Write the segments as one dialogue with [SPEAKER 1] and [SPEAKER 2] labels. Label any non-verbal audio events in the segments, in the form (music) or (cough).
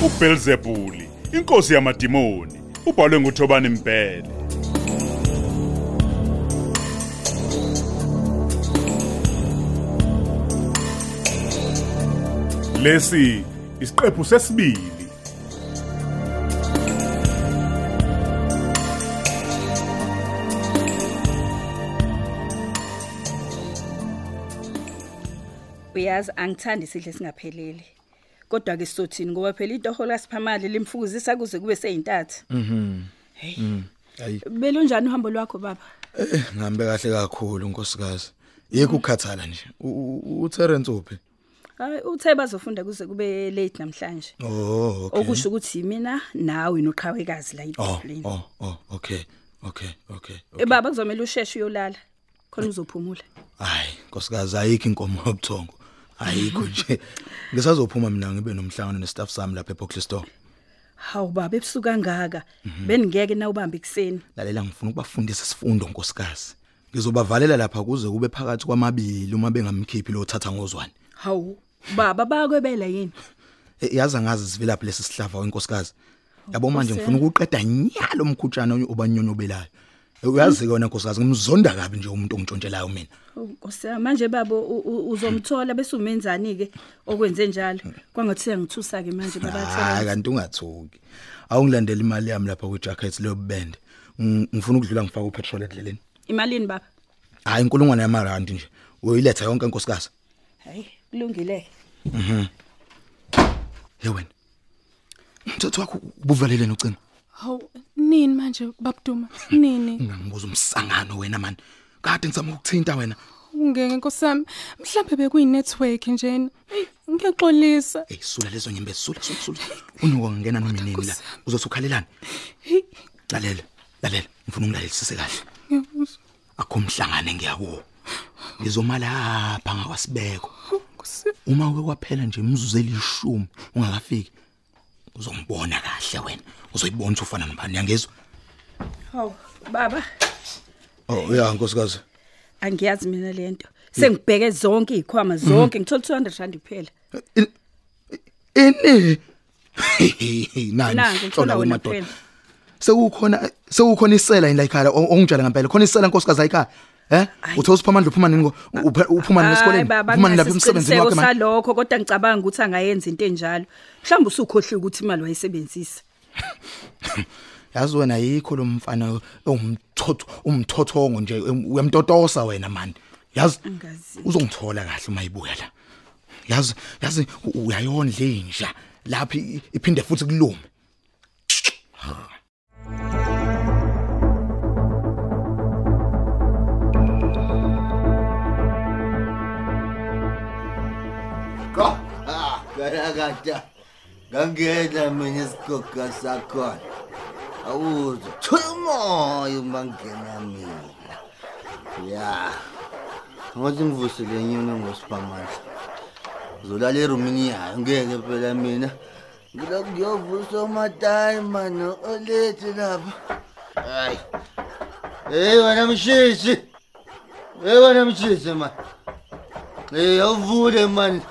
[SPEAKER 1] uBelzebuli, inkosi yamadimoni, ubhalwe nguThobani Mpele. Lesi isiqephu sesibili.
[SPEAKER 2] uyazi angithandi sidle singapheleli kodwa ke sizothini ngoba phela itoho lasiphamali limfukuzisa kuze kube seyintatha mhm hey
[SPEAKER 3] hayi
[SPEAKER 2] belunjani uhambo lwakho baba
[SPEAKER 3] eh ngihambe kahle kakhulu nkosikazi yeke ukukhathala nje uTerence uphi
[SPEAKER 2] hayi uthe bazofunda kuze kube late namhlanje
[SPEAKER 3] oh okay
[SPEAKER 2] okusho ukuthi mina nawe noqhawekazi la
[SPEAKER 3] oh
[SPEAKER 2] idiscipline
[SPEAKER 3] oh oh okay okay okay
[SPEAKER 2] Eh, baba kuzomela usheshe uyolala khona uzophumula
[SPEAKER 3] hayi nkosikazi ayikho inkomo yobuthongo ayikho nje ngisazophuma mina ngibe nomhlangano nestaff sami lapha eBoxley store
[SPEAKER 2] hawu baba ebusuku kangaka beningeke nawubamba ikuseni
[SPEAKER 3] lalela ngifuna ukubafundisa isifundo nkosikazi ngizobavalela lapha kuze kube phakathi kwamabili uma bengamkhiphi lo thatha ngozwane
[SPEAKER 2] hawu baba bayakwebela yini
[SPEAKER 3] Eh, yazi angazi sivilaphi lesi sihlava wenkosikazi yabo manje ngifuna ukuqeda nyalo umkhutshana obanyonyobelayo Eh, uyazi ke wena nkosikazi ngimzonda kabi nje umuntu ongintshontshelayo mina
[SPEAKER 2] Oh, Nkosi yami, manje babo u- u- uzomthola bese umenzani ke okwenze njalo kwangathi siyangithusa ke manje
[SPEAKER 3] hayi
[SPEAKER 2] babathi
[SPEAKER 3] kanti ungathuki awungilandela imali yami lapha kwijacket lobubende Ng- ngifuna ukudlula ngifaka upetrol endleleni
[SPEAKER 2] imalini baba
[SPEAKER 3] hayi inkulungwane yamarandi nje uyoyiletha yonke nkosikazi
[SPEAKER 2] hayi kulungile
[SPEAKER 3] ye wena umthetho wakho ubuvaleleni ucingo
[SPEAKER 4] hawu nini manje babuduma nini
[SPEAKER 3] ungangibuza umsangano wena mani kade ngizama ukukuthinta wena
[SPEAKER 4] ungeke nkosi yami mhlawumbe bekuyi-network njena eyi ngiyaxolisa
[SPEAKER 3] eyi sula lezo nyembe sula sula sula unokungena noma inini la uzothi ukhalelani
[SPEAKER 4] Hey.
[SPEAKER 3] lalela lalela ngifuna ungilalelisise kahle akho mhlangane ngiyakuwo ngizoma lapha ngakwasibeko
[SPEAKER 4] nkosi
[SPEAKER 3] uma uke kwaphela nje imizuzu elishumi ungakafiki uzongibona kahle wena uzoyibona ukuthi ufana nobani yangizwa
[SPEAKER 2] hawu baba
[SPEAKER 3] oh ya nkosikazi
[SPEAKER 2] angiyazi mina lento sengibheke zonke izikhwama zonke ngithola 200 rand kuphela
[SPEAKER 3] ini
[SPEAKER 2] nangi ngithola wena kuphela
[SPEAKER 3] sekukhona sekukhona isela yini la ekhaya o- ongitshela ngempela khona isela nkosikazi la ekhaya eh uthe usiphamandla uphuma nini ngo- uphe- uphuma nini
[SPEAKER 2] Hayi
[SPEAKER 3] esikoleni
[SPEAKER 2] baba
[SPEAKER 3] uphuma nini lapha emsebenzini wakho manje
[SPEAKER 2] salokho kodwa ngicabanga ukuthi angayenza into enjalo mhlawumbe usukhohle ukuthi imali wayisebenzisa
[SPEAKER 3] yazi wena yikho lo mfana ongumthotho umthothongo nje em- uyamtotosa wena mani yazi
[SPEAKER 2] Angazi.
[SPEAKER 3] uzongithola kahle uma ibuya la yazi yazi u- uyayondla inja lapha i- iphinde futhi kulume
[SPEAKER 5] Ko, ah, karakata. Ngangena mina isigoga sakhona. Awuzwa, thola umoya uma ngena mina. Ya. Ngothi ngivusele nyoni ngosiphamandla. Uzolala erumini yayo, ngeke phela mina. Ngilokhu ngiyovusa umatayi mano olethi lapha. Hayi. Hey wena mshishi. Hey wena mshishi man. Hey awuvule manje.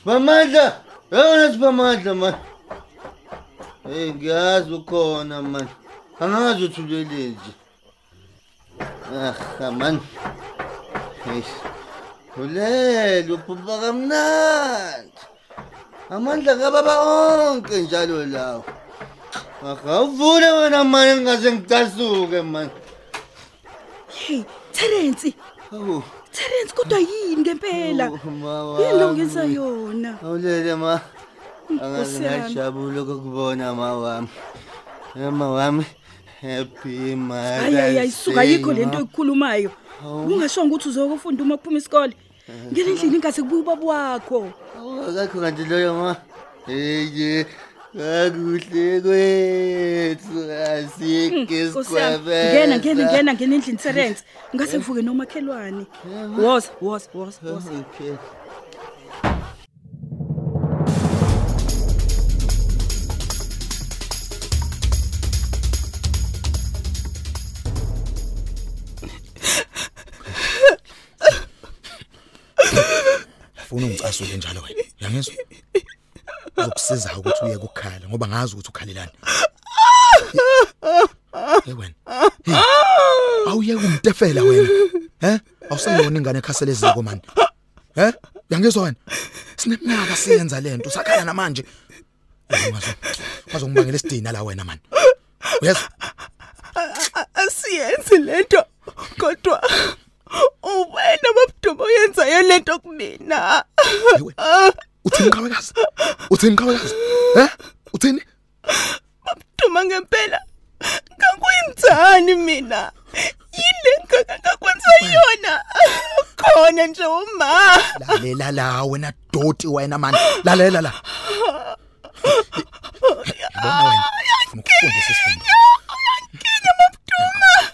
[SPEAKER 5] Sibamandla! Yona sibamandla man. Hey ngiyazi ukhona man. Angazi ukuthi ulele nje. Ah man. Hey. Ulele uphupha kamnandi. Amandla kababa onke njalo lawo. Akavule wena man ngaze ngidasuke man.
[SPEAKER 2] hey Terence
[SPEAKER 5] Awu.
[SPEAKER 2] Terence kodwa yini ngempela
[SPEAKER 5] Oh, mama
[SPEAKER 2] yini longisa
[SPEAKER 5] wami.
[SPEAKER 2] yona
[SPEAKER 5] Awulele ma. Angazi
[SPEAKER 2] Nkosi yami.
[SPEAKER 5] ngajabula ukukubona ma wami. Eh, Ma wami. Happy
[SPEAKER 2] hayi
[SPEAKER 5] mother.
[SPEAKER 2] ayisuka yikho lento oyikhulumayo ungashonga ukuthi uzokufunda uma uphuma isikole ngene endlini ingase kubuye ubaba wakho
[SPEAKER 5] Akakho Oh, kanti loyo ma. Hey. Akuhle kwethu asike
[SPEAKER 2] Nkosi yami, ngena
[SPEAKER 5] esikwabela.
[SPEAKER 2] ngena ngena ngena endlini Terence ngase ngivuke nomakhelwane woza woza woza woza
[SPEAKER 5] Okay.
[SPEAKER 3] ufuna ungicasule njalo wena yangizwa Kuzokusiza ukuthi uye ukukhala ngoba ngazi ukuthi ukhalelani. Hey wena. Hey. Awuye kumtefela wena. He? Awusayona ingane ekhaselezeko manje. He? Yangizwa wena. Sineminyaka siyenza lento sakhala namanje. Bazongibangela isidina la wena manje. Uyezwa?
[SPEAKER 6] asiyenzi lento kodwa uwena babudumo oyenzayo lento kumina
[SPEAKER 3] Hey wena. Uthini qhawekazi? Uthini qhawekazi? He? Uthini?
[SPEAKER 6] duma ngempela ngakuyimdzani mina yile ngakakwenza yona khona nje uma
[SPEAKER 3] lalela la wena doti wena mani lalela la yabona wena ngikufundisa isifundo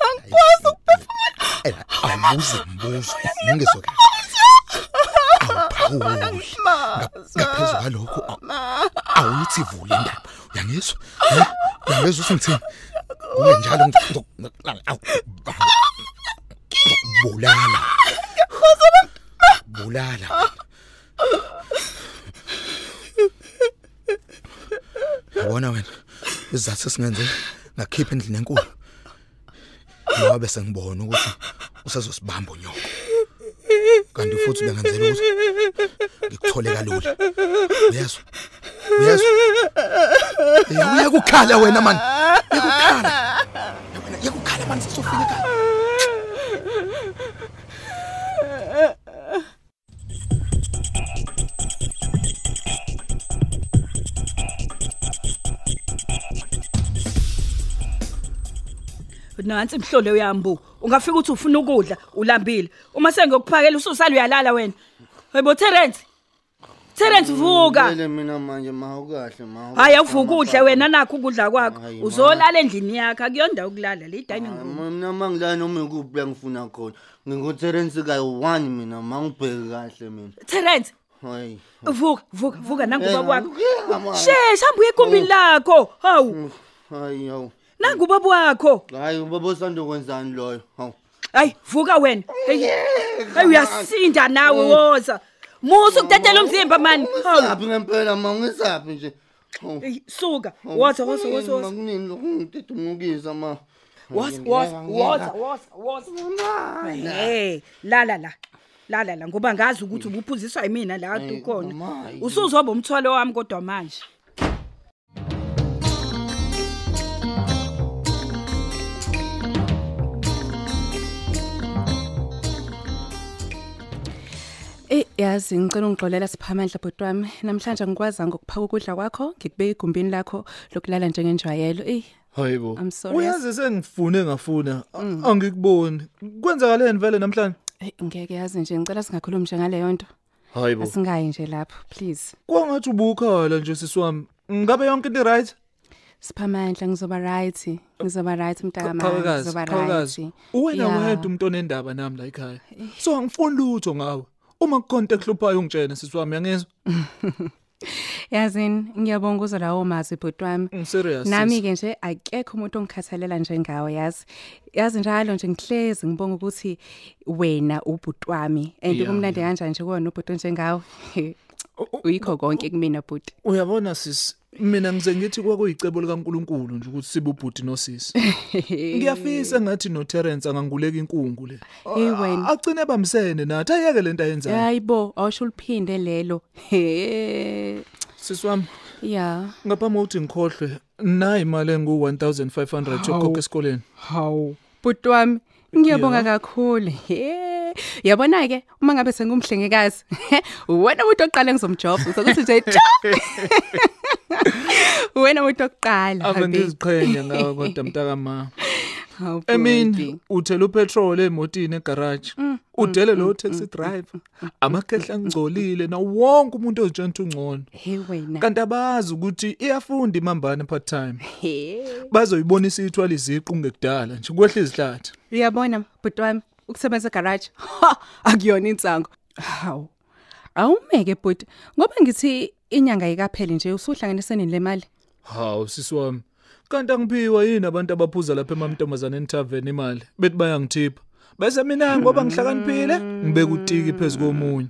[SPEAKER 6] angikwazi ukuphefumula
[SPEAKER 3] ela awuze mbuzo ngizwe kahle awuphawuli ngaphezu
[SPEAKER 6] maza
[SPEAKER 3] kwalokho aw- awuyithi vule indaba uyangizwa He? uyangizwa ukuthi ngithini kube njalo bulala bulala yabona wena isizathu sesingenze ngakhipha endlini enkulu ngoba bese ngibona ukuthi usezosibamba unyoko kanti futhi bengenzela ukuthi ngikuthole kalula uyezwa uyezwa Eh, uya ukukhala wena man ukukhala wena ukukhala man sesofika ekhaya
[SPEAKER 2] nansi mhlole uyambu ungafika uthi ufuna ukudla ulambile uma sengiyokuphakela ususala uyalala wena yebo Terence Terence vuka
[SPEAKER 5] Ngilele mina manje ma ukahle ma.
[SPEAKER 2] hayi avuka udle wena nakho ukudla kwakho
[SPEAKER 5] Hayi, ma.
[SPEAKER 2] uzolala endlini yakhe akuyonda ukulala le dining room
[SPEAKER 5] Mina mangilana noma ikuphi la ngifuna khona. NginguTerence ka 1 mina ma ngibheke kahle mina.
[SPEAKER 2] Terence
[SPEAKER 5] Hayi.
[SPEAKER 2] vuka vuka vuka nangu
[SPEAKER 5] Eh,
[SPEAKER 2] baba wakho
[SPEAKER 5] ngiyakha, ma.
[SPEAKER 2] shesha hamba uye egumbini lakho hawu
[SPEAKER 5] Hayi yaw.
[SPEAKER 2] nangu baba wakho
[SPEAKER 5] Hayi ubaba usanda kwenzani loyo? Hawu.
[SPEAKER 2] hayi vuka wena hey
[SPEAKER 5] Eh,
[SPEAKER 2] hey uyasinda nawe woza musa ukutetela umzimba mani hawu
[SPEAKER 5] Ngaphi ngempela ma ngisaphi nje? Hawu.
[SPEAKER 2] Ey, suka woza woza woza woza
[SPEAKER 5] Makunini lokungididumukisa ma.
[SPEAKER 2] Woza woza woza woza woza. Eh, la la la. La la la ngoba ngazi ukuthi ubuphuziswa yimina la kade
[SPEAKER 5] Hayi,
[SPEAKER 2] ukhona.
[SPEAKER 5] Eh, mama, hayi.
[SPEAKER 2] Usuzoba umthwalo wami kodwa manje.
[SPEAKER 4] Eh yazi ngicela ungixolela siphamandla bhuti wami namhlanje angikwazi ngokuphaka ukudla kwakho ngikubeka igumbini lakho lokulala njengenjwayelo eh
[SPEAKER 7] Hayibo.
[SPEAKER 4] I'm sorry,
[SPEAKER 7] Oh,
[SPEAKER 4] Mm.
[SPEAKER 7] Uyazi sengifune ngafuna a- angikuboni. Kwenzakaleni vele namhlanje?
[SPEAKER 4] eh, ngeke yazi nje ngicela singakhulumi nje ngaleyo nto Oh,
[SPEAKER 7] Hayibo.
[SPEAKER 4] asingayi nje lapho please
[SPEAKER 7] Kwangathi ubukhala nje sisiwami. Ngabe yonke into right?
[SPEAKER 4] siphamandla ngizoba right ngizoba right mntaka
[SPEAKER 7] Qhawekazi, qhawekazi. Uwena wedwa umuntu onendaba nami la ekhaya.
[SPEAKER 4] Eh.
[SPEAKER 7] So angifuni lutho ngawe. Uma kukhonto ekuhluphayo ungitshena sisiwami yangezwa.
[SPEAKER 4] yazini ngiyabonga uzo lawo mazwi bhuti wami
[SPEAKER 7] I'm Mm, serious.
[SPEAKER 4] nami
[SPEAKER 7] sis.
[SPEAKER 4] ke nje akekho umuntu ongikhathalela njengawe yazi yazi njalo nje ngihlezi ngibonga ukuthi wena ubhuti wami and
[SPEAKER 7] Yeah,
[SPEAKER 4] kumnandi kanjani nje kuwona ubhuti njengawe uyikho konke kumina bhuti
[SPEAKER 7] Uyabona sis, mina ngize ngithi kwakuyicebo likaNkuluNkulu nje ukuthi sibe ubhuti
[SPEAKER 4] (laughs)
[SPEAKER 7] nosisi. Ngiyafisa ngathi noTerence anganguleka inkungu le.
[SPEAKER 4] Hey, wena.
[SPEAKER 7] Agcine bamsene nathi ayeke lento ayenzayo.
[SPEAKER 4] hayibo awusho uliphinde lelo he
[SPEAKER 7] Sisiwami
[SPEAKER 4] ya
[SPEAKER 7] ngaphambi kokuthi ngikhohlwe nayi imali engu-1500 yokhokha esikoleni
[SPEAKER 4] hawu bhuti wami ngiyabonga kakhulu he yabona ke uma ngabe sengumhlengekazi wena umuntu oqala ngizomjoba uzokuthi nje
[SPEAKER 7] (laughs)
[SPEAKER 4] "Tshok!" (laughs) wena umuntu oqala
[SPEAKER 7] ave
[SPEAKER 4] babe.
[SPEAKER 7] ngiziqhenya ngawe kodwa mntakama
[SPEAKER 4] Hawu,
[SPEAKER 7] emini
[SPEAKER 4] Bhuti.
[SPEAKER 7] uthela upetrol emotini egaraji udele lowo taxi driver amakhehla angcolile nawo wonke umuntu ozitshena ukuthi ungcono
[SPEAKER 4] he wena
[SPEAKER 7] kanti abazi ukuthi iyafunda imambane part time
[SPEAKER 4] he
[SPEAKER 7] bazoyibonisa ithwala iziqu ngekudala nje kwehla izihlathi
[SPEAKER 4] uyabona bhuti wami ukusebenza egaraji (laughs) ha akuyona insango hawu awumeke bhuti ngoba ngithi inyanga yikapheli nje usuhlanganiseni le mali
[SPEAKER 7] hawu sisi wami kanti angiphiwa yini abantu abaphuza lapha emamntombazaneni taveni imali bethi bayangithipha bese mina ngoba ngihlakaniphile ngibeka utiki phezu komunye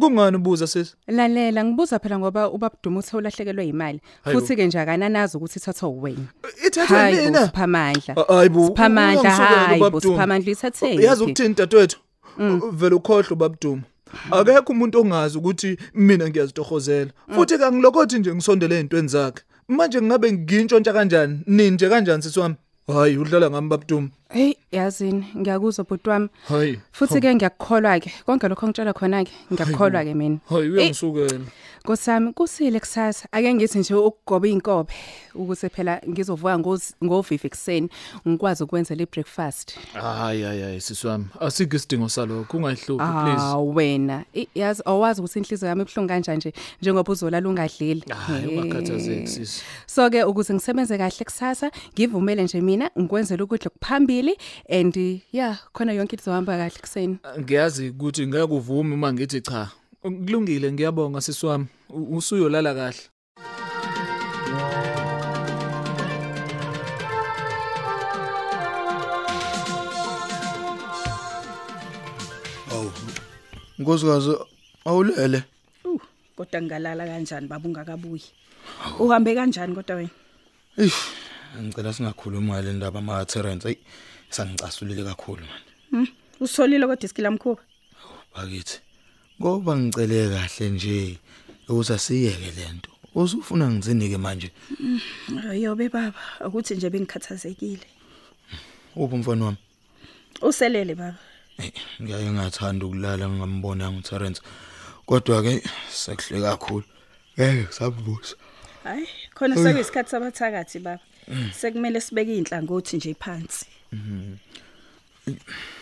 [SPEAKER 7] Kungani ubuza sisi?
[SPEAKER 4] lalela ngibuza phela ngoba ubabduma uthe ulahlekelwe imali
[SPEAKER 7] Hayi bo.
[SPEAKER 4] futhi ke nje akananazi ukuthi ithathwa uwena
[SPEAKER 7] Ithathwa mina.
[SPEAKER 4] siphamandla
[SPEAKER 7] A- hayi bo,
[SPEAKER 4] siphamandla
[SPEAKER 7] ungangisukela
[SPEAKER 4] hayi bo
[SPEAKER 7] ubaba Duma.
[SPEAKER 4] siphamandla Mm. ithatheni
[SPEAKER 7] Oh, Yazi ukuthini dadewethu? Vele ukhohle ubabduma. Akekho umuntu ongazi ukuthi mina ngiyazitohozela. Futhi kangilokothi nje ngisondele ezintweni zakhe. Manje ngabe ngintshontsha kanjani? Nini nje kanjani sisi wami? Hayi udlala ngami babduma.
[SPEAKER 4] hey yazini ngiyakuzwa bhuti wami
[SPEAKER 7] Hayi.
[SPEAKER 4] futhi ke ngiyakukholwa ke konke lokho ngitshela khona ke ngiyakukholwa ke mina
[SPEAKER 7] Hayi
[SPEAKER 4] Eh,
[SPEAKER 7] uyangisukela.
[SPEAKER 4] Nkosami kusile kusasa ake ngithi nje ukugoba inkobe ukuthi phela ngizovuka ngoz- ngovivi ekseni ngikwazi ukwenza le breakfast.
[SPEAKER 7] Hayi hayi hayi sisi wami. Asike isidingo salokho ungayihluphi
[SPEAKER 4] Ah wena i- yazi awazi ukuthi inhliziyo yami ibhlungu kanjani nje njengoba uzolala ungadlili.
[SPEAKER 7] Hayi ungakhathazeki sisi.
[SPEAKER 4] So ke ukuze ngisebenze kahle kusasa ngivumele nje mina ngikwenzela ukudla kuphambili and yeah khona yonke into izohamba kahle ekseni.
[SPEAKER 7] Ngiyazi ukuthi ngeke uvume uma ngithi cha. Kulungile ngiyabonga sisi wami. U- Usuyolala kahle.
[SPEAKER 3] Awu. Nkosikazi awulele.
[SPEAKER 2] kodwa ngingalala kanjani baba ungakabuyi uhambe kanjani kodwa wena
[SPEAKER 3] Eish, ngicela singakhuluma ngale ndaba ma Terence. Ey, sangicasulile kakhulu man.
[SPEAKER 2] Hmm? usolile kodwa isikila mkhuba
[SPEAKER 3] Bakithi. Ngoba ngicele kahle nje ukuthi asiyeke lento. Usufuna ngizinike manje.
[SPEAKER 2] yobe baba ukuthi nje bengikhathazekile
[SPEAKER 3] Uphi umfana wami?
[SPEAKER 2] uselele baba
[SPEAKER 3] Eyi, Ngiyaye ngathanda ukulala ngingambona ngoTerence. Kodwa ke sekuhle kakhulu. Ngeke sabubusa.
[SPEAKER 2] hayi khona sekuyisikhathi sabathakathi baba
[SPEAKER 3] Hmm.
[SPEAKER 2] sekumele sibeke iy'nhlangothi nje phansi
[SPEAKER 3] Mhm.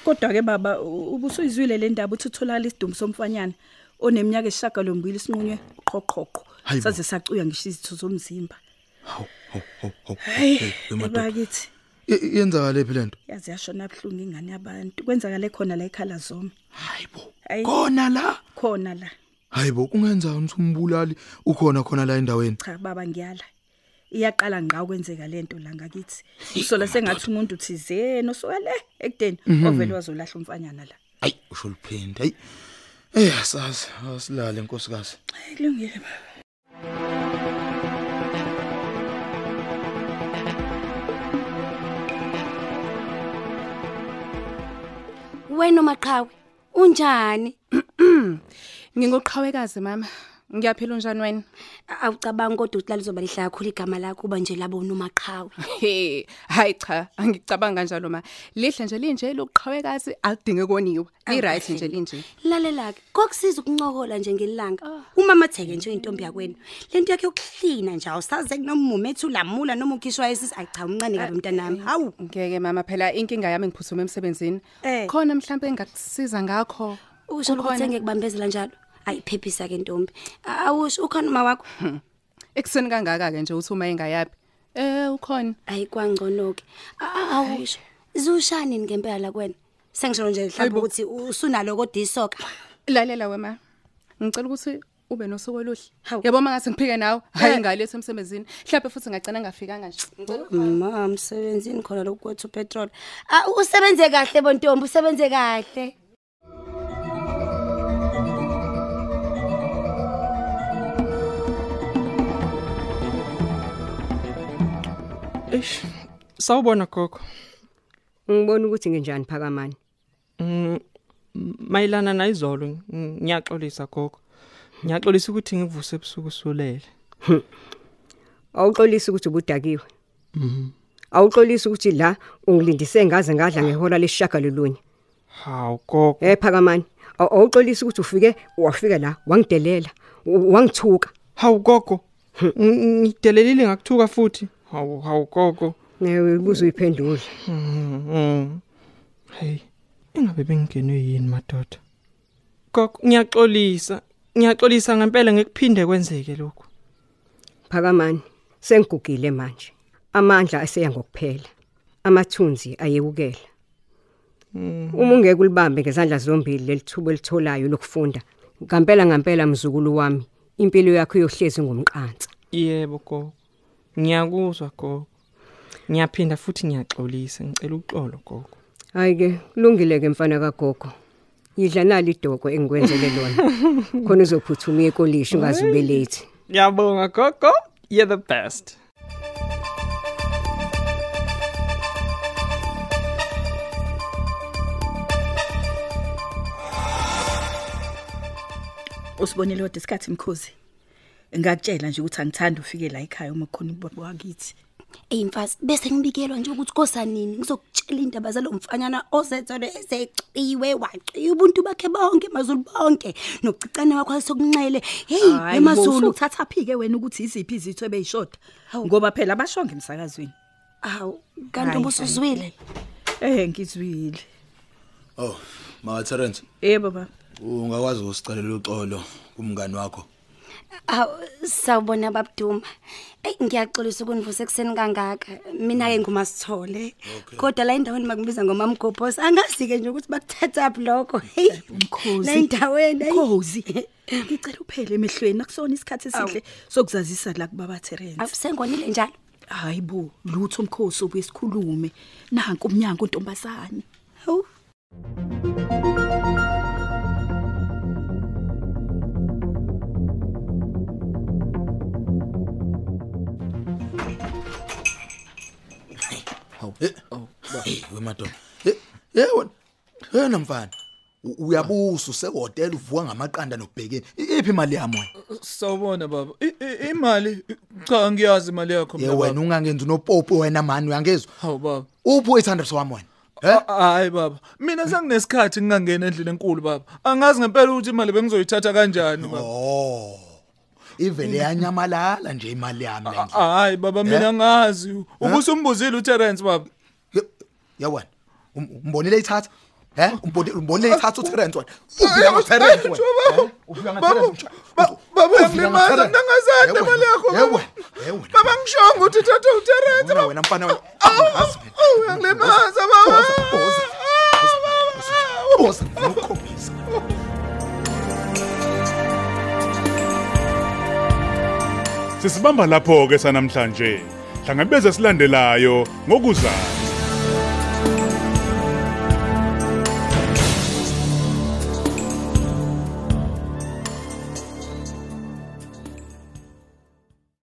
[SPEAKER 2] kodwa-ke baba u- ubusuyizwile le ndaba uthi utholakala isidumbu somfanyana oneminyaka esishagalombili sinqunywe qhoqhoqho
[SPEAKER 3] Hayi bo.
[SPEAKER 2] saze sacuya ngisho izitho zomzimba
[SPEAKER 3] Hawu, hawu, hawu, hawu.
[SPEAKER 2] hayi
[SPEAKER 3] Hey, madoda.
[SPEAKER 2] bakithi
[SPEAKER 3] I- Yenzakale phi lento?
[SPEAKER 2] yazi yashona buhlungu ingane yabantu kwenzakale khona la ikhala zome
[SPEAKER 3] Hayibo.
[SPEAKER 2] Hayi.
[SPEAKER 3] Kona la.
[SPEAKER 2] khona la
[SPEAKER 3] Hayibo, ungenza ukuthi umbulali ukhona khona la endaweni.
[SPEAKER 2] cha baba ngiyala iyaqala ngqa ukwenzeka lento la ngakithi usola sengathi umuntu thizeni usuka le ekudeni ovele wazolahla umfanyana la
[SPEAKER 3] Hayi, usho liphindi. Hayi. Eh, asazi, asilale nkosikazi.
[SPEAKER 2] Hhayi, kulungile baba
[SPEAKER 8] wena maqhawe unjani
[SPEAKER 4] Ngingoqhawekazi mama. Ngiyaphila unjani wena?
[SPEAKER 8] awucabanga kodwa ukuthi lalizoba lihle kakhulu igama lakho uba nje labona umaqhawe
[SPEAKER 4] Hey, (laughs) hayi cha, angicabanga kanjalo ma. Lihle nje linje lokuqhawekazi alidinge koniwe. Li right nje linje.
[SPEAKER 8] lalela-ke kokusiza ukuncokola nje ngelanga umamatheke nje uyintombi yakwenu le nto yakho yokuhlina nje awusaze kunomumu ethi ulamula noma ukhishwa esisi ayi cha umncane kabi mntanami hawu
[SPEAKER 4] Ngeke mama phela inkinga yami ngiphuthuma emsebenzini.
[SPEAKER 8] Eh.
[SPEAKER 4] Khona mhlawumbe ngakusiza ngakho.
[SPEAKER 8] usho ukuthi
[SPEAKER 4] Kukhona-
[SPEAKER 8] ngiyakubambezela njalo ayiphephisa-ke ntombi A- awusho ukhona uma wakho
[SPEAKER 4] Ekuseni kangaka ke nje uthi uma engayapi. Eh ukhona.
[SPEAKER 8] hayi kwangcono-ke A- a- awusho ziwushanini ngempela kwena sengisholo nje mhlawumbe ukuthi usunalo kodwa isoka
[SPEAKER 4] Lalela wema. Ngicela ukuthi ube nosuku oluhle.
[SPEAKER 8] Hawu.
[SPEAKER 4] Yabo mangathi ngiphike nawe. Hayi
[SPEAKER 9] Eh.
[SPEAKER 4] ngalethe emsebenzini. Mhlawumbe futhi ngagcina ngafikanga nje. Ngicela
[SPEAKER 8] ma msebenzini khona lokhu kwethu upetrol Ah, usebenze kahle bontombi usebenze kahle
[SPEAKER 10] Eish. Sawubona gogo.
[SPEAKER 9] Ngibona ukuthi nginjani phakamani.
[SPEAKER 10] Mayilana nayizolo ng- ngiyaxolisa gogo. Ngiyaxolisa ukuthi ngivuse ebusuku usulele.
[SPEAKER 9] Awuxolisi ukuthi ubudakiwe. Mhm. Awuxolisi ukuthi la ungilindise ngaze ngadla ngehora lesishagalolunye.
[SPEAKER 10] Hawu gogo.
[SPEAKER 9] Eh phakamani, aw- awuxolisi ukuthi ufike wafika la wangidelela, u- wangithuka. Hm.
[SPEAKER 10] Hawu gogo. Ng- Ngidelelile ngakuthuka futhi. Hawu hawu gogo.
[SPEAKER 9] Newe buzo uyiphendula.
[SPEAKER 10] Mhm. Hey. Ingabe bengingenwe yini madoda? Gogo ngiyaxolisa. Ngiyaxolisa ngempela ngekuphinde kwenzeke lokho.
[SPEAKER 9] Phakamani, sengigugile manje. Amandla aseya ngokuphela. Amathunzi ayekukela.
[SPEAKER 10] Mm.
[SPEAKER 9] Uma ungeke ulibambe ngezandla zombili lelithubo elitholayo lokufunda, ngempela ngempela mzukulu wami, impilo yakho iyohlezi ngumqansa.
[SPEAKER 10] Yebo gogo. Ngiyakuzwa gogo. Ngiyaphinda futhi ngiyaxolisa. Ngicela uxolo gogo.
[SPEAKER 9] Hayi ke, kulungile ke mfana kagogo. yidla nali idoko engikwenzele lona khona uzophuthuma ekolishi ungaze ube late
[SPEAKER 10] Yabonga gogo, you're the best.
[SPEAKER 2] Usibonile kodwa isikhathi mkhozi. Ngakutshela nje ukuthi angithandi ufike la ekhaya uma khona ubaba wakithi.
[SPEAKER 8] Ey mfazi, bese ngibikelwa nje ukuthi kosanini ngizokutshela indaba zalomfanyana ozethelwe ezeciwe waciwe ubuntu bakhe bonke mazulu bonke nokucicane wakho asokunxele. Hey, emazulu
[SPEAKER 2] uthatha phi ke wena ukuthi iziphi izitho ebeyishoda? Ngoba phela abasho ngemsakazweni.
[SPEAKER 8] Awu, kanti ubusuzwile.
[SPEAKER 2] Eh, ngizwile.
[SPEAKER 3] Oh, mama Terence,
[SPEAKER 2] Yebo baba.
[SPEAKER 3] ungakwazi ukusicelela uxolo kumngani wakho.
[SPEAKER 8] Awu, sawubona babduma. Ey ngiyaxolisa ukunivusa ekseni kangaka. Mina ke ngumasithole. Kodwa la endaweni makubiza ngomamgobhosi. Angazike nje ukuthi bakuthatha phi lokho. Hey,
[SPEAKER 2] Mkhozi.
[SPEAKER 8] La endaweni, hey.
[SPEAKER 2] Mkhozi. Ngicela uphele emehlweni akusona isikhathi esihle sokuzazisa la kubaba Terence.
[SPEAKER 8] Abusengonile njalo.
[SPEAKER 2] Hayibo, lutho mkhosi obuye sikhulume. Nanku umnyango untombazane.
[SPEAKER 8] Hawu.
[SPEAKER 3] Hawu. Oh, we madodana. Eh, eh wena. Yena mfana. u- Uyabusa usehotel uvuka ngamaqanda nobhekeni. I- Iphi imali yami wena?
[SPEAKER 7] Sawubona baba. I- i- Imali cha ngiyazi imali yakho
[SPEAKER 3] Ye wena ungangenzi unopopo wena mani uyangezwa.
[SPEAKER 7] Hawu baba.
[SPEAKER 3] Uphi 800 wami wena? Eh?
[SPEAKER 7] Hayi baba, mina senginesikhathi ngingangena endlini enkulu baba. Angazi ngempela ukuthi imali bengizoyithatha kanjani baba.
[SPEAKER 3] Oh. (laughs) Ivele yanyamalala nje imali yami la. nje.
[SPEAKER 7] Hayi baba mina ngazi. Ubusumbuzile uTerence baba.
[SPEAKER 3] Yawana. Umbonile ithatha? He? Umbonile umbonile ithatha uTerence wena.
[SPEAKER 7] Eh,
[SPEAKER 3] Ubika ngoTerence wena. He? Ubika ngoTerence.
[SPEAKER 7] Baba
[SPEAKER 3] Ufika
[SPEAKER 7] uyangilimaza
[SPEAKER 3] ngoTerence.
[SPEAKER 7] mina ngazani
[SPEAKER 3] Yebo,
[SPEAKER 7] imali yakho.
[SPEAKER 3] yebo,
[SPEAKER 7] baba. Baba ngishongo ukuthi thatha uTerence.
[SPEAKER 3] Wena wena mfana wena.
[SPEAKER 7] Uyangilimaza baba.
[SPEAKER 3] Boza nokukhombisa.
[SPEAKER 1] Sisibamba lapho ke sanamhlanje. Hlangabeze silandelayo ngokuzayo.